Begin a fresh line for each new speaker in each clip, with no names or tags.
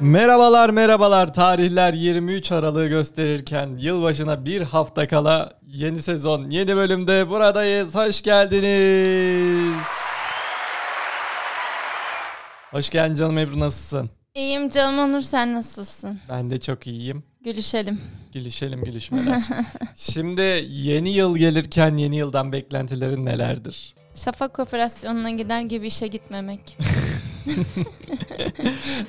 Merhabalar merhabalar tarihler 23 Aralık'ı gösterirken yılbaşına bir hafta kala yeni sezon yeni bölümde buradayız hoş geldiniz. Hoş geldin canım Ebru nasılsın?
İyiyim canım Onur sen nasılsın?
Ben de çok iyiyim.
Gülüşelim.
Gülüşelim gülüşmeler. Şimdi yeni yıl gelirken yeni yıldan beklentilerin nelerdir?
Şafak operasyonuna gider gibi işe gitmemek.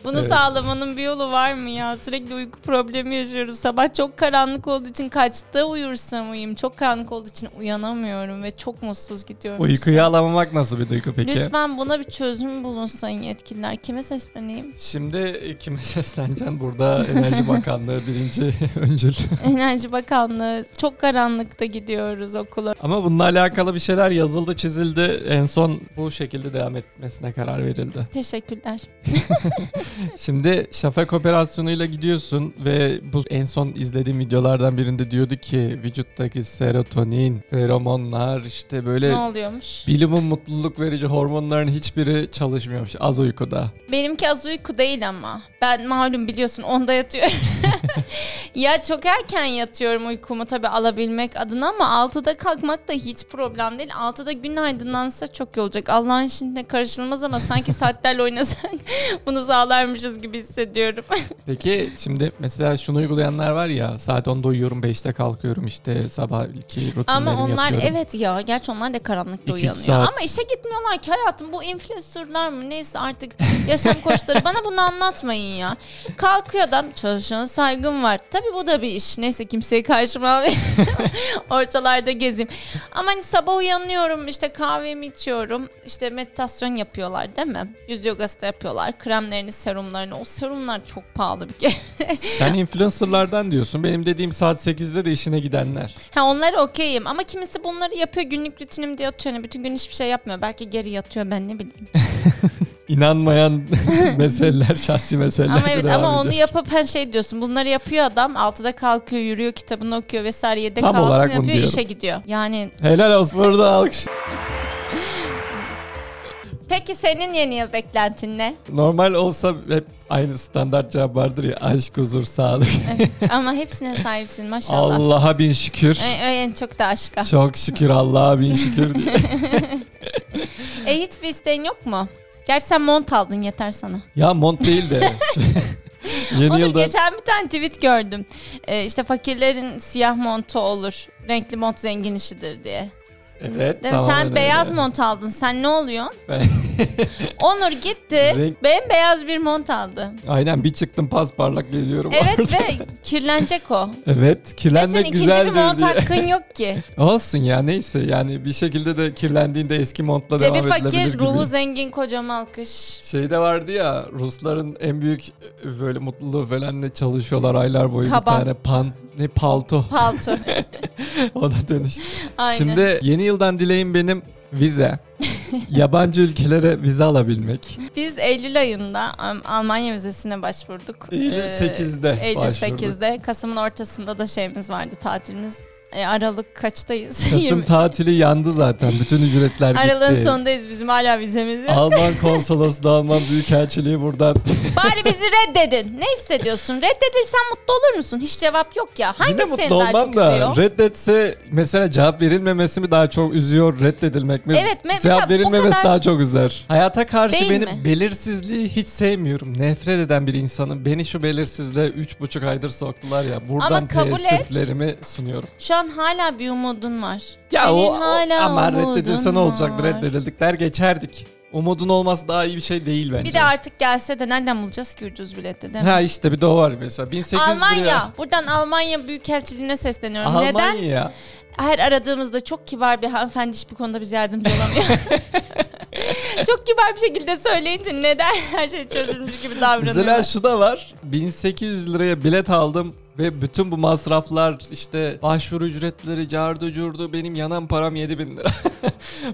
Bunu
Evet.
sağlamanın bir yolu var mı ya? Sürekli uyku problemi yaşıyoruz. Sabah çok karanlık olduğu için kaçta uyursam uyuyayım. Çok karanlık olduğu için uyanamıyorum ve çok mutsuz gidiyorum.
Uykuyu alamamak nasıl bir duygu peki?
Lütfen buna bir çözüm bulun sayın yetkililer. Kime sesleneyim?
Şimdi kime sesleneceksin? Burada Enerji Bakanlığı birinci öncül.
Enerji Bakanlığı. Çok karanlıkta gidiyoruz okula.
Ama bununla alakalı bir şeyler yazıldı, çizildi. En son bu şekilde devam etmesine karar verildi.
Teşekkürler.
Şimdi şafak operasyonuyla gidiyorsun ve bu en son izlediğim videolardan birinde diyordu ki vücuttaki serotonin, feromonlar işte böyle
Ne oluyormuş?
bilimin mutluluk verici hormonların hiçbiri çalışmıyormuş az uykuda.
Benimki az uyku değil ama. Ben malum biliyorsun onda yatıyorum. ya çok erken yatıyorum uykumu tabii alabilmek adına ama 6'da kalkmak da hiç problem değil. 6'da gün aydınlansa çok iyi olacak. Allah'ın işine karışılmaz ama sanki saatlerle oynasak bunu sağlarmışız gibi hissediyorum.
Peki şimdi mesela şunu uygulayanlar var ya saat 10'da uyuyorum 5'te kalkıyorum işte sabah iki rutinlerimi
ama onlar
yapıyorum.
evet ya gerçi onlar da karanlıkta
İki, üç
uyanıyor.
saat.
Ama işe gitmiyorlar ki hayatım bu influencerlar mı neyse artık yaşam koçları bana bunu anlatmayın ya. Kalkıyor adam çalışana saygım var. Tabii bu da bir iş neyse kimseyi karşıma almayayım. ortalarda gezeyim. Ama hani sabah uyanıyorum işte kahvemi içiyorum işte meditasyon yapıyorlar değil mi? Yüz yogası da yapıyorlar kremlerini serumlarını o serumlar çok pahalı bir kere.
Sen influencerlardan diyorsun benim dediğim saat 8'de de işine gidenler.
Ha onlar okeyim ama kimisi bunları yapıyor günlük rutinim diye atıyor. Hani bütün gün hiçbir şey yapmıyor. Belki geri yatıyor ben ne bileyim.
inanmayan meseleler, şahsi meseleler
ama
de
evet
devam
ama onu
ediyor.
yapıp her şey diyorsun. Bunları yapıyor adam. Altıda kalkıyor, yürüyor, kitabını okuyor vesaire. Yedek
Tam
kahvaltısını
olarak bunu
yapıyor,
diyorum.
işe gidiyor. Yani
Helal olsun burada alkış.
peki senin yeni yıl beklentin ne?
Normal olsa hep aynı standart cevap vardır ya aşk, huzur, sağlık.
ama hepsine sahipsin maşallah.
Allah'a bin şükür.
E, e, en çok da aşka.
Çok şükür Allah'a bin şükür. diye.
E hiçbir isteğin yok mu? Gerçi sen mont aldın yeter sana.
ya mont değil de. Yeni
Onur
yılda
geçen bir tane tweet gördüm. Ee, işte fakirlerin siyah montu olur. Renkli mont zengin işidir diye.
evet
Değil mi?
tamamen
Sen
öyle.
beyaz mont aldın. Sen ne oluyorsun?
Ben-
Onur gitti.
Renk-
Ben beyaz bir mont aldı.
Aynen bir çıktım pasparlak geziyorum.
Evet
orada.
ve kirlenecek o.
evet
Ve senin
kirlenmek
ikinci bir
güzeldir
mont
diye.
hakkın yok ki.
Olsun ya neyse yani bir şekilde de kirlendiğinde eski montla
Cebi
devam edilebilir
fakir,
gibi.
ruhu zengin kocam alkış.
Şeyde Şey vardı ya Rusların en büyük e, böyle mutluluğu falan ne çalışıyorlar aylar boyu
Kaba.
bir tane pan ne palto
Palto.
ona dönüş.
Aynen.
Şimdi yeni yıldan dileğim benim vize. Yabancı ülkelere vize alabilmek.
Biz Eylül ayında Am- Almanya vizesine başvurduk. Ee,
Eylül 8'de
Eylül
başvurduk.
8'de. Kasım'ın ortasında da şeyimiz vardı tatilimiz. E, Aralık kaçtayız?
Kasım
20.
tatili yandı zaten. Bütün ücretler gitti.
Aralığın sonundayız bizim hala vizemiz yok.
Alman konsolosluğu, Alman büyükelçiliği buradan.
Bari bizi reddedin. Ne hissediyorsun? Reddedilsen mutlu olur musun? Hiç cevap yok ya. Hangisi
Yine
seni
mutlu
daha çok
olmam da
üzüyor?
reddetse mesela cevap verilmemesi mi daha çok üzüyor, reddedilmek mi?
Evet, me- mesela
cevap
bu
verilmemesi
kadar-
daha çok üzer. Hayata karşı
Değil
benim
mi?
belirsizliği hiç sevmiyorum. Nefret eden bir insanım. Beni şu belirsizliğe üç buçuk aydır soktular ya. Buradan
Ama kabul et.
teessüflerimi sunuyorum.
Şu an hala bir umudun var.
Ya
Senin
o, o-
hala
ama
umudun
reddedilse ne olacaktı?
var.
Reddedildik der geçerdik. Umudun olması daha iyi bir şey değil bence.
Bir de artık gelse de nereden bulacağız ki ucuz bileti değil mi?
Ha işte bir de o var mesela. 1800
Almanya.
lira.
Buradan Almanya Büyükelçiliğine sesleniyorum.
Almanya.
Neden? Her aradığımızda çok kibar bir hanımefendi hiçbir konuda bize yardımcı olamıyor. çok kibar bir şekilde söyleyince neden her şey çözülmüş gibi
Mesela
davranıyor.
şu da var. 1800 liraya bilet aldım ve bütün bu masraflar işte başvuru ücretleri, cardı curdu benim yanan param 7000 lira.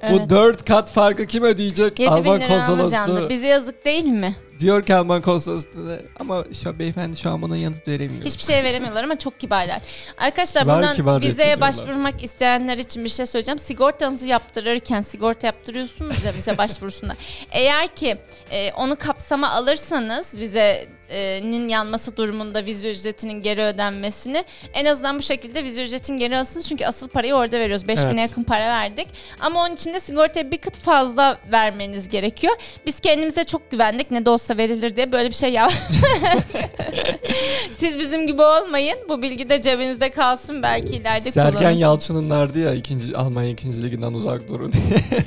Evet.
bu 4 kat farkı kim ödeyecek?
7 bin
şey. Alman
liramız yandı.
konsolosluğu.
Bize yazık değil mi?
Diyor ki Alman konsolosluğu ama şu beyefendi şu an buna yanıt veremiyor.
Hiçbir şey veremiyorlar ama çok kibarlar. Arkadaşlar
Kibar
bundan
kibar
vizeye
reddediyorlar.
başvurmak isteyenler için bir şey söyleyeceğim. Sigortanızı yaptırırken sigorta yaptırıyorsunuz ya vize başvurusunda. Eğer ki e, onu kapsamıyor kapsama alırsanız vizenin yanması durumunda vize ücretinin geri ödenmesini en azından bu şekilde vize ücretin geri alınsın çünkü asıl parayı orada veriyoruz. 5000'e
Evet.
yakın para verdik. Ama onun için de sigortaya bir kıt fazla vermeniz gerekiyor. Biz kendimize çok güvendik ne de olsa verilir diye böyle bir şey yap. Siz bizim gibi olmayın. Bu bilgi de cebinizde kalsın belki ileride
Sergen
kullanırsınız.
Yalçın'ın nerede ya ikinci Almanya ikinci liginden uzak durun.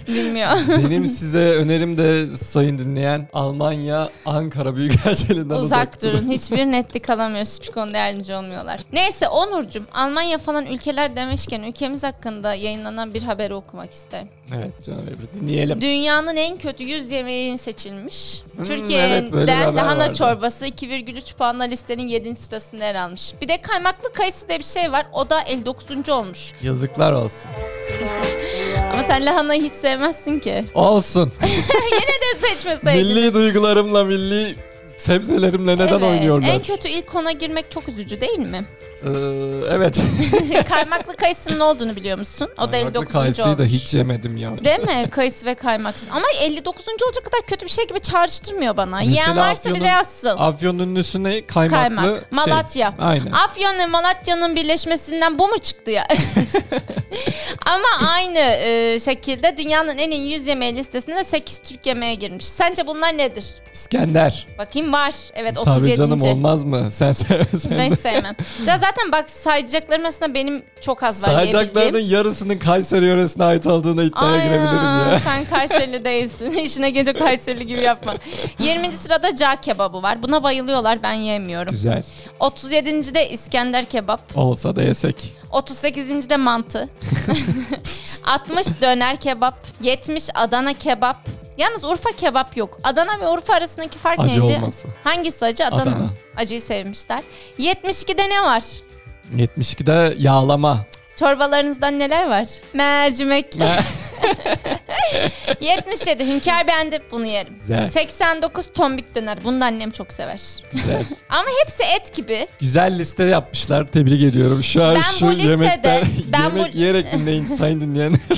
Bilmiyor.
Benim size önerim de sayın dinleyen Almanya Ankara Büyükelçiliğinden uzak,
Uzak durun. Hiçbir netlik alamıyoruz. Hiçbir konuda yardımcı olmuyorlar. Neyse Onurcuğum Almanya falan ülkeler demişken ülkemiz hakkında yayınlanan bir haberi okumak isterim.
Evet canım Ebru dinleyelim.
Dünyanın en kötü 100 yemeği seçilmiş.
Hmm, evet, böyle bir
Türkiye'den
haber
lahana
vardı.
çorbası 2,3 puanla listenin 7. sırasında yer almış. Bir de kaymaklı kayısı diye bir şey var. O da 59. olmuş.
Yazıklar olsun.
Ama sen lahanayı hiç sevmezsin ki.
Olsun.
Ne seçmeseydin?
milli duygularımla milli sebzelerimle neden
Evet,
oynuyorlar?
En kötü ilk ona girmek çok üzücü değil mi?
Ee, evet.
kaymaklı kayısının olduğunu biliyor musun? O da 59.
Kayısıyı
olmuş.
da hiç yemedim ya.
Değil mi? Kayısı ve kaymaksız. Ama 59. olacak kadar kötü bir şey gibi çağrıştırmıyor bana.
Mesela
Yiyen varsa
Afyon'un-
bize yazsın.
Afyon'un ünlüsüne kaymaklı
Kaymak.
şey.
Malatya.
Aynen.
Afyon ve Malatya'nın birleşmesinden bu mu çıktı ya? Ama aynı e, şekilde dünyanın en iyi 100 yemeği listesinde 8 Türk yemeğe girmiş. Sence bunlar nedir?
İskender.
Bakayım var. Evet 37.
Tabii canım olmaz mı? Sen sevmesen.
Ben hiç sevmem. Ya zaten bak sayacaklarım aslında benim çok az var
Sayacaklarının
diyebildiğim.
yarısının Kayseri yöresine ait olduğuna iddiaya
Ay,
girebilirim ya.
Sen Kayserili değilsin. İşine gece Kayserili gibi yapma. 20. sırada cağ kebabı var. Buna bayılıyorlar ben yemiyorum.
Güzel.
37. de İskender kebap.
Olsa da yesek.
38. de mantı. 60 döner kebap. 70 Adana kebap. Yalnız Urfa kebap yok. Adana ve Urfa arasındaki fark
Acı
neydi?
olması.
Hangisi acı? Adana.
Adana.
Acıyı sevmişler. 72'de ne var?
72'de yağlama.
Çorbalarınızdan neler var? Mercimek. 77 hünkar beğendi bunu yerim.
Güzel.
89 tombik döner. Bunu da annem çok sever.
Güzel.
Ama hepsi et gibi.
Güzel liste yapmışlar. Tebrik ediyorum. Şu an
Ben
şu
bu listede-
yemekten
ben bu-
yemek yiyerek dinleyin sayın dinleyenler.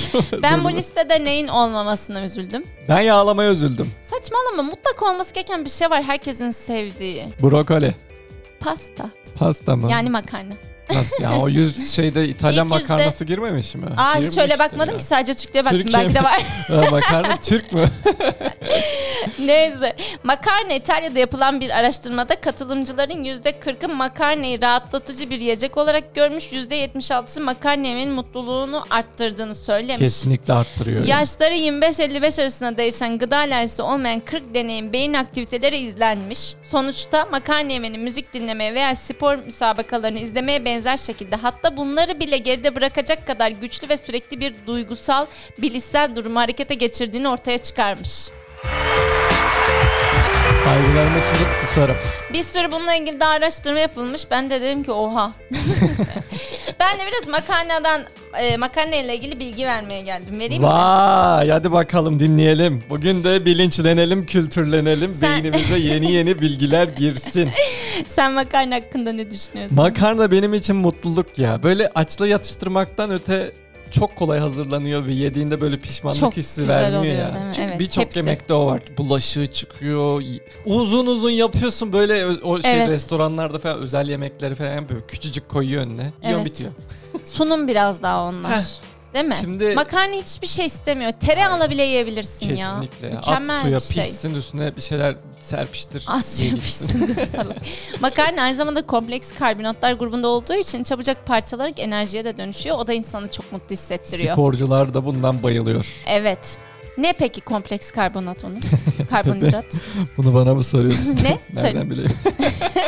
Ben bu listede neyin olmamasına üzüldüm.
Ben yağlamaya üzüldüm.
Saçmalama mutlaka olması gereken bir şey var herkesin sevdiği.
Brokoli.
Pasta.
Pasta mı?
Yani makarna.
Nasıl ya? O yüz şeyde İtalyan
İlk yüzde-
makarnası girmemiş mi?
Aa hiç
Girmiştir
öyle bakmadım
şey ya.
ki sadece Türkiye baktım
Türkiye
belki de
mi?
var.
Ha, makarna Türk mü?
Neyse. Makarna İtalya'da yapılan bir araştırmada katılımcıların %40'ı makarnayı rahatlatıcı bir yiyecek olarak görmüş. %76'sı makarna yemenin mutluluğunu arttırdığını söylemiş.
Kesinlikle arttırıyor. ya.
Yaşları 25-55 arasında değişen gıda alerjisi olmayan 40 deneyim beyin aktiviteleri izlenmiş. Sonuçta makarna yemenin müzik dinlemeye veya spor müsabakalarını izlemeye benzer şekilde hatta bunları bile geride bırakacak kadar güçlü ve sürekli bir duygusal, bilişsel durumu harekete geçirdiğini ortaya çıkarmış.
Saygılarımı sunup susarım.
Bir sürü bununla ilgili de araştırma yapılmış. Ben de dedim ki oha. ben de biraz makarnadan e, makarna ile ilgili bilgi vermeye geldim. Vereyim mi?
Vay hadi bakalım dinleyelim. Bugün de bilinçlenelim, kültürlenelim.
Sen-
Beynimize yeni yeni bilgiler girsin.
Sen makarna hakkında ne düşünüyorsun?
Makarna benim için mutluluk ya. Böyle açla yatıştırmaktan öte çok kolay hazırlanıyor ve yediğinde böyle pişmanlık
Çok
hissi
güzel
vermiyor
oluyor,
ya.
değil mi?
Çünkü
Evet,
birçok
hepsi.
yemekte o var. Bulaşığı çıkıyor. Uzun uzun yapıyorsun böyle o- o şey
Evet.
restoranlarda falan özel yemekleri falan böyle küçücük koyuyor önüne. Yiyorsun
Evet.
bitiyor.
Sunum biraz daha onlar.
Heh.
Değil mi?
Şimdi-
Makarna hiçbir şey istemiyor. Tereyağla bile yiyebilirsin ya.
Kesinlikle. ya. At
Mükemmel
suya
bir şey.
pişsin üstüne bir şeyler serpiştir.
Az
Ye
suya
gitsin.
pişsin. Salak. Makarna aynı zamanda kompleks karbonatlar grubunda olduğu için çabucak parçalarak enerjiye de dönüşüyor. O da insanı çok mutlu hissettiriyor.
Sporcular da bundan bayılıyor.
Evet. Ne peki kompleks karbonat onu? Karbonhidrat.
Bunu bana mı soruyorsun?
Ne?
Nereden bileyim?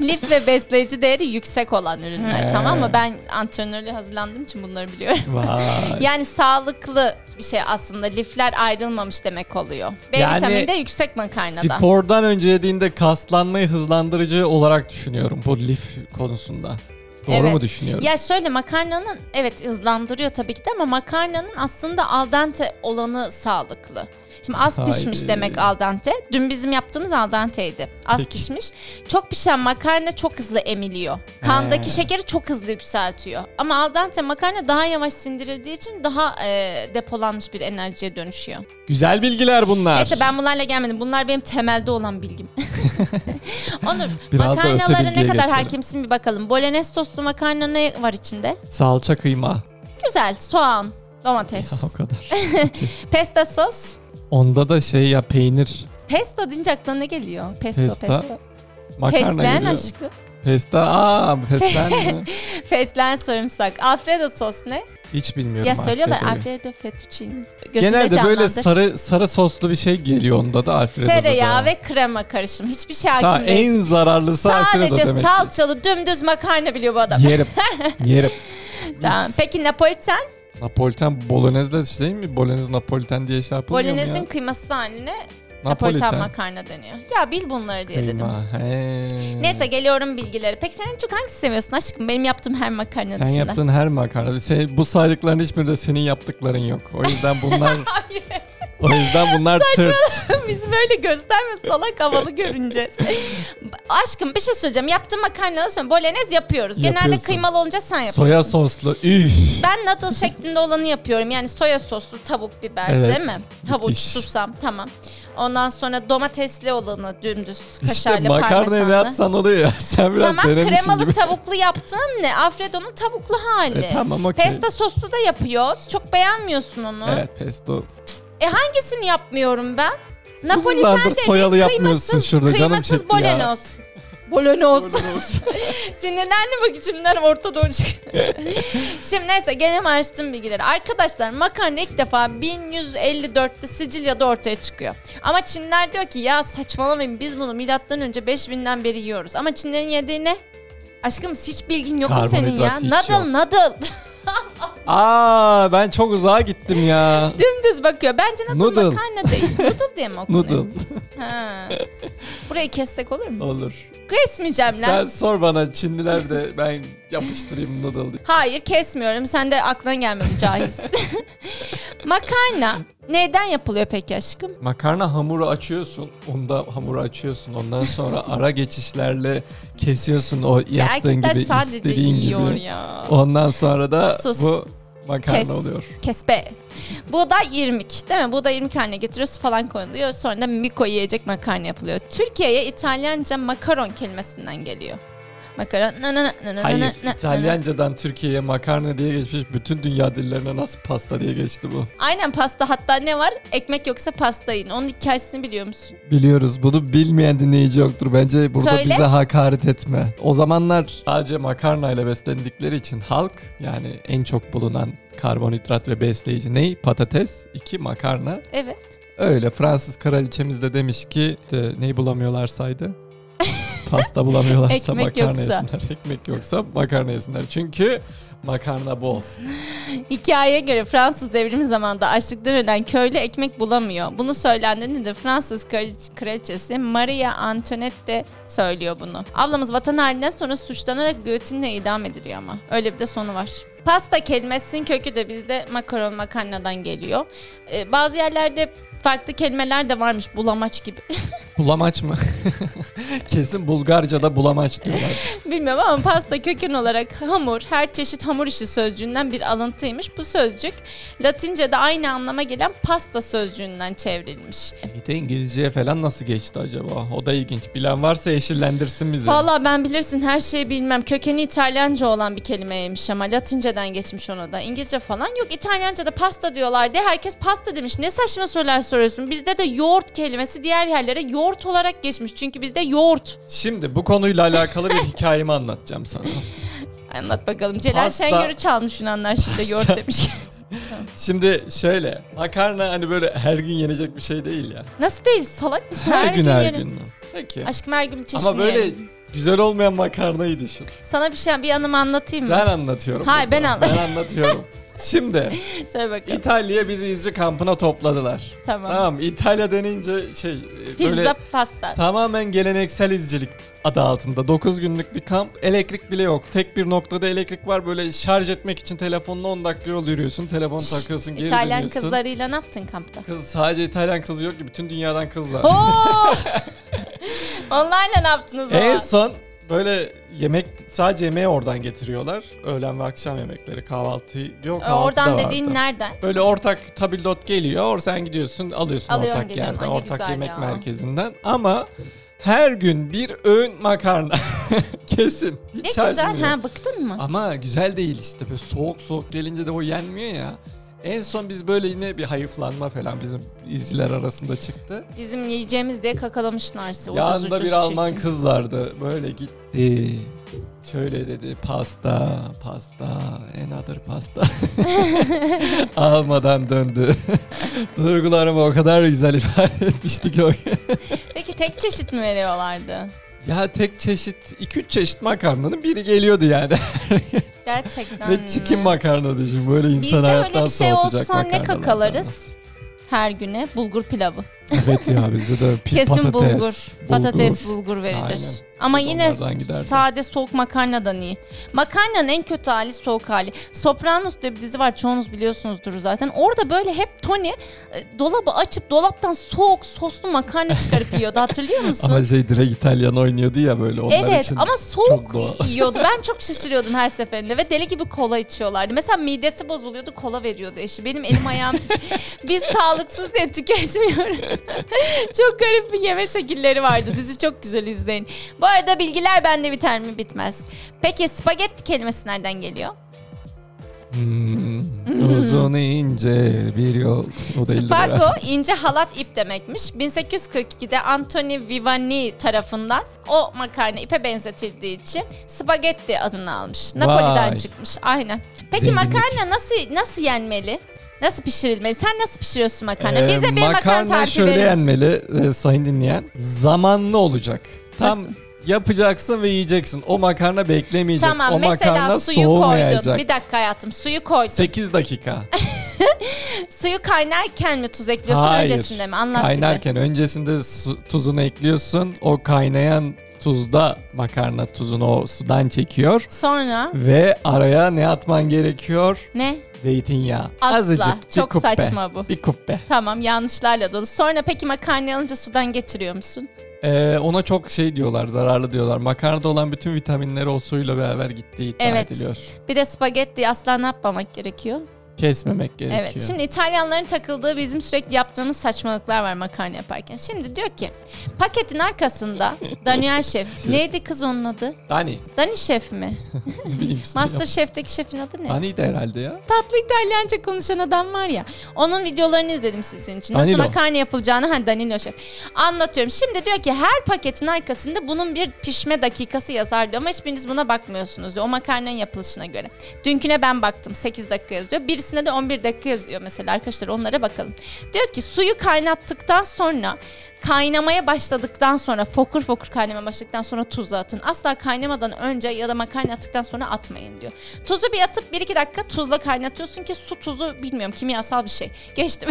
Lif ve besleyici değeri yüksek olan ürünler
He.
tamam mı? Ben antrenörlüğe hazırlandığım için bunları biliyorum.
Vay.
Yani sağlıklı bir şey aslında. Lifler ayrılmamış demek oluyor. B
Yani
vitamini de yüksek makarnada.
Spordan önce yediğinde kaslanmayı hızlandırıcı olarak düşünüyorum bu lif konusunda. Doğru
Evet.
mu düşünüyorum?
Ya şöyle makarnanın evet hızlandırıyor tabii ki de ama makarnanın aslında al dente olanı sağlıklı. Şimdi az
Haydi.
pişmiş demek al dente. Dün bizim yaptığımız al denteydi. Az
Peki.
pişmiş. Çok pişen makarna çok hızlı emiliyor. Kandaki
He.
şekeri çok hızlı yükseltiyor. Ama al dente makarna daha yavaş sindirildiği için daha e, depolanmış bir enerjiye dönüşüyor.
Güzel bilgiler bunlar.
Neyse ben bunlarla gelmedim. Bunlar benim temelde olan bilgim. Onur,
Biraz da öte
makarnalara ne kadar
bilgiye geçelim.
hakimsin bir bakalım. Bolognese soslu makarna ne var içinde?
Salça kıyma.
Güzel, soğan, domates.
Ya o kadar.
Pesto sos.
Onda da şey ya peynir.
Pesto deyince aklına ne geliyor? Pesto,
Pesta.
pesto.
Makarna
Fesleğen
geliyor.
aşkı.
Pesta. Aa fesleğen mi?
Fesleğen sarımsak. Alfredo sos ne?
Hiç bilmiyorum.
ya söylüyorlar
Alfredo'yu.
Alfredo fettuccine. Gözümde
Genelde böyle
canlandı.
sarı sarı soslu bir şey geliyor onda da Alfredo'da.
Tereyağı
da.
ve krema karışım. Hiçbir şey
Ta
hakim değil.
en zararlısı Alfredo
Sadece
demek. ki.
salçalı dümdüz makarna biliyor bu adam.
Yerim. Yerim.
Tamam. Peki Napoliten?
Napoliten bolognezle şey değil mi? Bolognese Napoliten diye şey yapılmıyor mu
Polonezin
ya?
kıyması haline Napolitan makarna dönüyor. Ya bil bunları diye dedim.
Kıyma, he.
Neyse geliyorum bilgileri. Peki sen en çok hangisini seviyorsun aşkım? Benim yaptığım her makarna
Sen
dışında.
yaptığın her makarna. Sen, bu saydıkların hiçbirinde senin yaptıkların yok. O yüzden bunlar
Hayır.
o yüzden bunlar tırt.
Biz böyle gösterme salak havalı görüneceğiz. aşkım bir şey söyleyeceğim. Yaptığım makarnaları söylüyorum. Bolognese yapıyoruz. Genelde
Yapıyorsun.
kıymalı olunca sen yapıyorsun.
Soya soslu. Üf.
Ben noodle şeklinde olanı yapıyorum. Yani soya soslu tavuk biber
Evet.
değil mi? Havuç,
Müthiş.
susam tamam. Ondan sonra domatesli olanı dümdüz
İşte
kaşarlı
makarnaya ne
parmesanlı.
atsan oluyor ya. Sen biraz
tamam
denemişsin
kremalı
gibi.
tavuklu yaptığım ne? Alfredo'nun tavuklu hali.
E, tamam, okey.
Pesto soslu da yapıyoruz. Çok beğenmiyorsun onu.
Evet pesto.
E hangisini yapmıyorum ben? Napoliten
Uzunlardır
dediğin
soyalı
kıymasız,
yapmıyorsun şurada, canım
kıymasız
çekti ya.
bolognese. Bolognese. Sinirlendim bak içimden Orta Doğu çıkıyor. Şimdi neyse gene açtım bilgileri. Arkadaşlar makarna ilk defa 1154'te Sicilya'da ortaya çıkıyor. Ama Çinler diyor ki ya saçmalamayın biz bunu milattan önce 5000'den beri yiyoruz. Ama Çinlerin yediği ne? Aşkım hiç bilgin yok mu senin ya?
Karbonhidrat hiç
Nadal
yok.
nadal.
Aa ben çok uzağa gittim ya.
Dümdüz bakıyor. Bence nadal
Noodle.
makarna değil. Noodle diye mi okunuyor?
Noodle
Ha. Burayı kessek olur mu?
olur.
Kesmeyeceğim lan.
Sen sor bana Çinliler de ben yapıştırayım noodle diye.
Hayır kesmiyorum. Sen de aklına gelmedi cahil. Makarna neyden yapılıyor peki aşkım?
Makarna hamuru açıyorsun. Onda hamuru açıyorsun. Ondan sonra ara geçişlerle kesiyorsun o
Ya
yaptığın
erkekler
gibi
sadece
istediğin
yiyor
gibi.
ya.
Ondan sonra da
Sus.
bu makarna
Kes.
oluyor.
Kespe. Buğday irmik değil mi? Buğday irmik haline getiriyor su falan koyuluyor. Sonra da miko yiyecek makarna yapılıyor. Türkiye'ye İtalyanca makaron kelimesinden geliyor. Makaron. na, na, na, na, na, na, na,
Hayır,
na.
İtalyancadan Türkiye'ye makarna diye geçmiş. Bütün dünya dillerine nasıl pasta diye geçti bu.
Aynen pasta hatta ne var? Ekmek yoksa pasta yiyin. Onun hikayesini biliyor musun?
Biliyoruz. Bunu bilmeyen dinleyici yoktur. Bence burada
Söyle.
bize hakaret etme. O zamanlar sadece makarnayla beslendikleri için halk yani en çok bulunan karbonhidrat ve besleyici ney? Patates, iki makarna.
Evet.
Öyle Fransız kraliçemiz de demiş ki de, neyi bulamıyorlarsaydı? Pasta bulamıyorlarsa
Ekmek
makarna
yoksa.
yesinler. Ekmek yoksa makarna yesinler. Çünkü makarna bol.
Hikayeye göre Fransız devrimi zamanında açlıktan ölen köylü ekmek bulamıyor. Bunu söylendiğinde de Fransız kraliç- kraliçesi Maria Antoinette de söylüyor bunu. Ablamız vatan halinden sonra suçlanarak göğtinle idam ediliyor ama. Öyle bir de sonu var. Pasta kelimesinin kökü de bizde makaron makarnadan geliyor. Ee, bazı yerlerde farklı kelimeler de varmış bulamaç gibi.
Bulamaç mı? Kesin Bulgarca'da bulamaç diyorlar.
Bilmiyorum ama pasta köken olarak hamur, her çeşit hamur işi sözcüğünden bir alıntıymış. Bu sözcük Latince'de aynı anlama gelen pasta sözcüğünden çevrilmiş.
Bir de İngilizceye falan nasıl geçti acaba? O da ilginç. Bilen varsa yeşillendirsin bizi.
Valla ben bilirsin her şeyi bilmem. Kökeni İtalyanca olan bir kelimeymiş ama Latince'den geçmiş ona da. İngilizce falan yok. İtalyanca'da pasta diyorlar diye herkes pasta demiş. Ne saçma sorular soruyorsun. Bizde de yoğurt kelimesi diğer yerlere yoğurt olarak geçmiş. Çünkü bizde yoğurt.
Şimdi bu konuyla alakalı bir hikayemi anlatacağım sana.
Anlat bakalım. Celal
Pasta.
Şengör'ü çalmış Yunanlar şimdi yoğurt
Pasta.
demiş.
Şimdi şöyle makarna hani böyle her gün yenecek bir şey değil ya.
Nasıl değil salak mısın?
Her, gün, her
yerim.
gün. mü? Peki.
Aşkım her gün bir çeşini
Ama böyle
yerim.
güzel olmayan makarnayı düşün.
Sana bir şey bir anımı anlatayım mı?
Ben anlatıyorum.
Hayır,
burada.
ben anlat-
Ben anlatıyorum. Şimdi
Söyle bakalım.
İtalya bizi izci kampına topladılar.
tamam.
Tamam İtalya denince şey e,
Pizza
böyle
pasta.
tamamen geleneksel izcilik adı altında. 9 günlük bir kamp elektrik bile yok. Tek bir noktada elektrik var böyle şarj etmek için telefonla 10 dakika yol yürüyorsun. Telefon takıyorsun geri
İtalyan
dönüyorsun.
kızlarıyla ne yaptın kampta?
Kız sadece İtalyan kızı yok ki bütün dünyadan kız var.
Oo! Onlarla ne yaptınız o
En
zaman?
son böyle yemek sadece yemeği oradan getiriyorlar. Öğlen ve akşam yemekleri kahvaltı yok
Ee,
kahvaltı da
Oradan
vardı.
dediğin nereden?
Böyle ortak tabildot geliyor. Or sen gidiyorsun alıyorsun
Alıyorum,
ortak
geliyorum.
yerden.
Ay ne
Ortak
güzel
yemek
ya.
merkezinden. Ama her gün bir öğün makarna. Kesin.
Ne
Hiç
güzel.
şaşmıyor.
Ha bıktın mı?
Ama güzel değil işte. Böyle soğuk soğuk gelince de o yenmiyor ya. En son biz böyle yine bir hayıflanma falan bizim izciler arasında çıktı.
Bizim yiyeceğimiz diye kakalamışlar sizi. Ucuz
Yanında
ucuz
bir Alman
çirkin.
kız vardı. Böyle gitti. Şöyle dedi pasta, pasta, another pasta. Almadan döndü. Duygularımı o kadar güzel ifade etmişti ki o gün.
Peki tek çeşit mi veriyorlardı?
Ya tek çeşit, iki üç çeşit makarnanın biri geliyordu yani.
Gerçekten
Ve çikin
mi?
makarna düşün. Böyle
Bizde
insan
öyle
hayattan
bir şey
soğutacak
olsa
makarnalar.
ne kakalarız? Her güne bulgur pilavı.
Evet ya bizde de pi-
Kesin
patates.
bulgur. Patates bulgur verilir.
Aynen.
Ama
Biz
yine
onlardan giderdik.
sade soğuk makarnadan iyi. Makarnanın en kötü hali soğuk hali. Sopranos diye bir dizi var çoğunuz biliyorsunuzdur zaten. Orada böyle hep Tony e, dolabı açıp dolaptan soğuk soslu makarna çıkarıp yiyordu hatırlıyor musun?
Ama şey direkt İtalyan oynuyordu ya böyle onlar
Evet
için.
ama soğuk
çok doğal.
yiyordu. Ben çok şaşırıyordum her seferinde ve deli gibi kola içiyorlardı. Mesela midesi bozuluyordu kola veriyordu eşi. Benim elim ayağım tit- Biz sağlıksız diye tüketmiyoruz. çok garip bir yeme şekilleri vardı. Dizi çok güzel izleyin. Bu arada bilgiler bende biter mi bitmez. Peki spagetti kelimesi nereden geliyor?
Hmm, uzun ince bir yol. O da elli lira.
Spago ince halat ip demekmiş. 1842'de Anthony Vivanni tarafından o makarna ipe benzetildiği için spagetti adını almış. Napoli'den
Vay.
çıkmış. Aynen. Peki
Zenginlik.
makarna nasıl nasıl yenmeli? Nasıl pişirilmeli? Sen nasıl pişiriyorsun makarna?
Ee,
Hani Bize bir makarna, tarifi
şöyle
verir misin?
yenmeli e, sayın dinleyen. Zamanlı olacak. Tam
Nasıl?
yapacaksın ve yiyeceksin. O makarna beklemeyecek.
Tamam
o makarna
mesela suyu koydun.
soğumayacak.
Bir dakika hayatım suyu koydun.
8 dakika.
Suyu kaynarken mi tuz ekliyorsun
Hayır.
öncesinde mi? Anlat bize.
Kaynarken öncesinde su- tuzunu ekliyorsun. O kaynayan tuzda makarna tuzunu o sudan çekiyor.
Sonra
Ve araya ne atman gerekiyor?
ne?
Zeytinyağı.
Asla.
Azıcık. Bir
Çok
kuppe.
saçma bu.
Bir kuppe.
Tamam yanlışlarla dolu. Sonra peki makarna alınca sudan getiriyor musun?
Ee, ona çok şey diyorlar, zararlı diyorlar. Makarnada olan bütün vitaminleri o suyla beraber gittiği iddia
Evet.
ediliyor.
Bir de spagetti asla ne yapmamak gerekiyor?
Kesmemek gerekiyor.
Evet. Şimdi İtalyanların takıldığı bizim sürekli yaptığımız saçmalıklar var makarna yaparken. Şimdi diyor ki paketin arkasında Daniel Şef. neydi kız onun adı?
Dani.
Dani Şef mi?
Bileyim işte.
Master Şef'teki şefin adı ne?
Dani'ydi herhalde ya.
Tatlı İtalyanca konuşan adam var ya. Onun videolarını izledim sizin için. Nasıl
Danilo.
makarna yapılacağını ha Danilo Şef. Anlatıyorum. Şimdi diyor ki her paketin arkasında bunun bir pişme dakikası yazar diyor ama hiçbiriniz buna bakmıyorsunuz diyor. O makarnanın yapılışına göre. Dünküne ben baktım 8 dakika yazıyor. Birisine de 11 dakika yazıyor mesela arkadaşlar onlara bakalım. Diyor ki suyu kaynattıktan sonra kaynamaya başladıktan sonra fokur fokur kaynamaya başladıktan sonra tuzu atın. Asla kaynamadan önce ya da makarna attıktan sonra atmayın diyor. Tuzu bir atıp 1-2 dakika tuzla kaynatıyorsun ki su tuzu bilmiyorum kimyasal bir şey. Geçtim.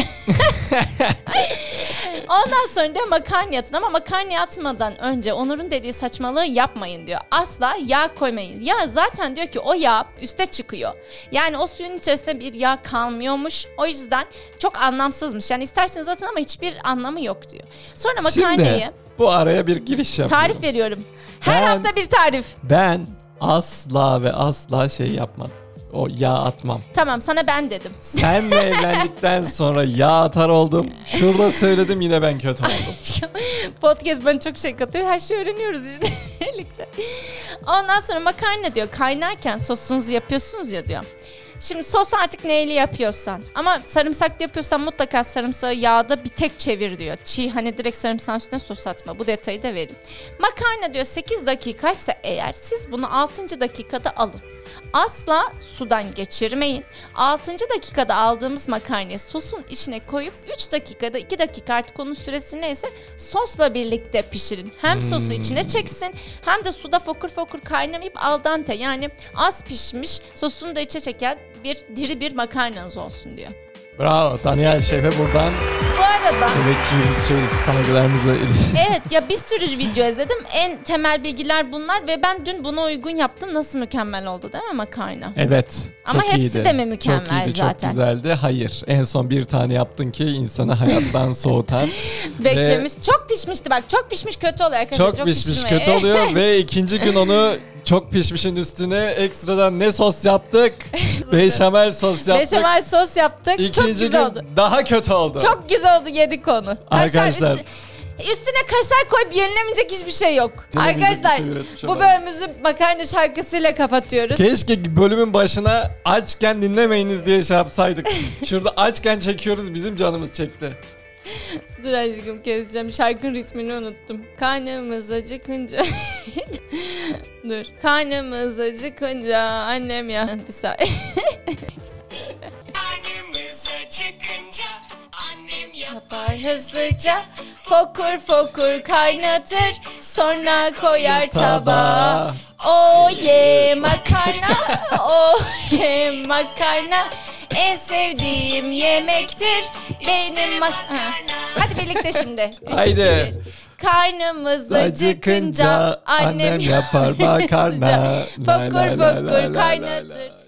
Ondan sonra diyor makarna atın ama makarna atmadan önce Onur'un dediği saçmalığı yapmayın diyor. Asla yağ koymayın. Ya zaten diyor ki o yağ üste çıkıyor. Yani o suyun içerisinde bir yağ kalmıyormuş. O yüzden çok anlamsızmış. Yani isterseniz atın ama hiçbir anlamı yok diyor. Sonra makarnayı
Şimdi bu araya bir giriş yapıyorum.
tarif veriyorum. Her
Ben-
hafta bir tarif.
Ben asla ve asla şey yapmam. O yağ atmam.
Tamam sana ben dedim.
Senle evlendikten sonra yağ atar oldum. Şurada söyledim yine ben kötü oldum.
Podcast bana çok şey katıyor. Her şeyi öğreniyoruz işte birlikte. Ondan sonra makarna diyor. Kaynarken sosunuzu yapıyorsunuz ya diyor. Şimdi sos artık neyle yapıyorsan. Ama sarımsaklı yapıyorsan mutlaka sarımsağı yağda bir tek çevir diyor. Çiğ hani direkt sarımsağın üstüne sos atma. Bu detayı da verin. Makarna diyor 8 dakikaysa eğer siz bunu 6. dakikada alın. Asla sudan geçirmeyin. 6. dakikada aldığımız makarnayı sosun içine koyup 3 dakikada 2 dakika artık onun süresi neyse sosla birlikte pişirin. Hem
Hmm.
sosu içine çeksin hem de suda fokur fokur kaynamayıp al dente yani az pişmiş sosunu da içe çeken bir diri bir makarnanız olsun diyor.
Bravo Daniel Şef'e buradan
Bu arada
emekçi şey, saygılarımızla ilişkin.
Evet ya bir sürü video izledim. En temel bilgiler bunlar ve ben dün buna uygun yaptım. Nasıl mükemmel oldu değil mi makarna?
Evet.
Ama
çok
hepsi
iyiydi.
de mi mükemmel
çok iyiydi, Çok
zaten?
güzeldi. Hayır. En son bir tane yaptın ki insanı hayattan soğutan.
Beklemiş. Çok pişmişti bak. Çok pişmiş kötü oluyor arkadaşlar.
çok pişmiş
pişirmeyin.
kötü oluyor ve ikinci gün onu çok pişmişin üstüne ekstradan ne sos yaptık? Beşamel sos yaptık.
Beşamel sos yaptık. çok
İkinci
güzel
gün
oldu.
daha kötü oldu.
Çok güzel oldu yedik onu. Kaşar
Arkadaşlar.
üstü- Üstüne kaşar koyup yenilemeyecek hiçbir şey yok.
Denemeyecek bir
Arkadaşlar
şey üretmiş
bu
adam.
bölümümüzü makarna şarkısıyla kapatıyoruz.
Keşke bölümün başına açken dinlemeyiniz diye şey yapsaydık. Şurada açken çekiyoruz bizim canımız çekti.
Dur aşkım keseceğim. Şarkının ritmini unuttum. Karnımız acıkınca... Dur. Karnımız acıkınca annem ya. Bir saniye.
Karnımız acıkınca annem yapar.
Yapar hızlıca fokur fokur kaynatır sonra koyar tabağa. O ye makarna, o ye makarna. En sevdiğim yemektir benim makarna. Hadi birlikte şimdi. İki,
Haydi.
bir. Karnımız acıkınca
Acıkınca
annem
annem yapar makarna. La, la,
Fokur
la, la, la,
fokur
la,
kaynatır.
la.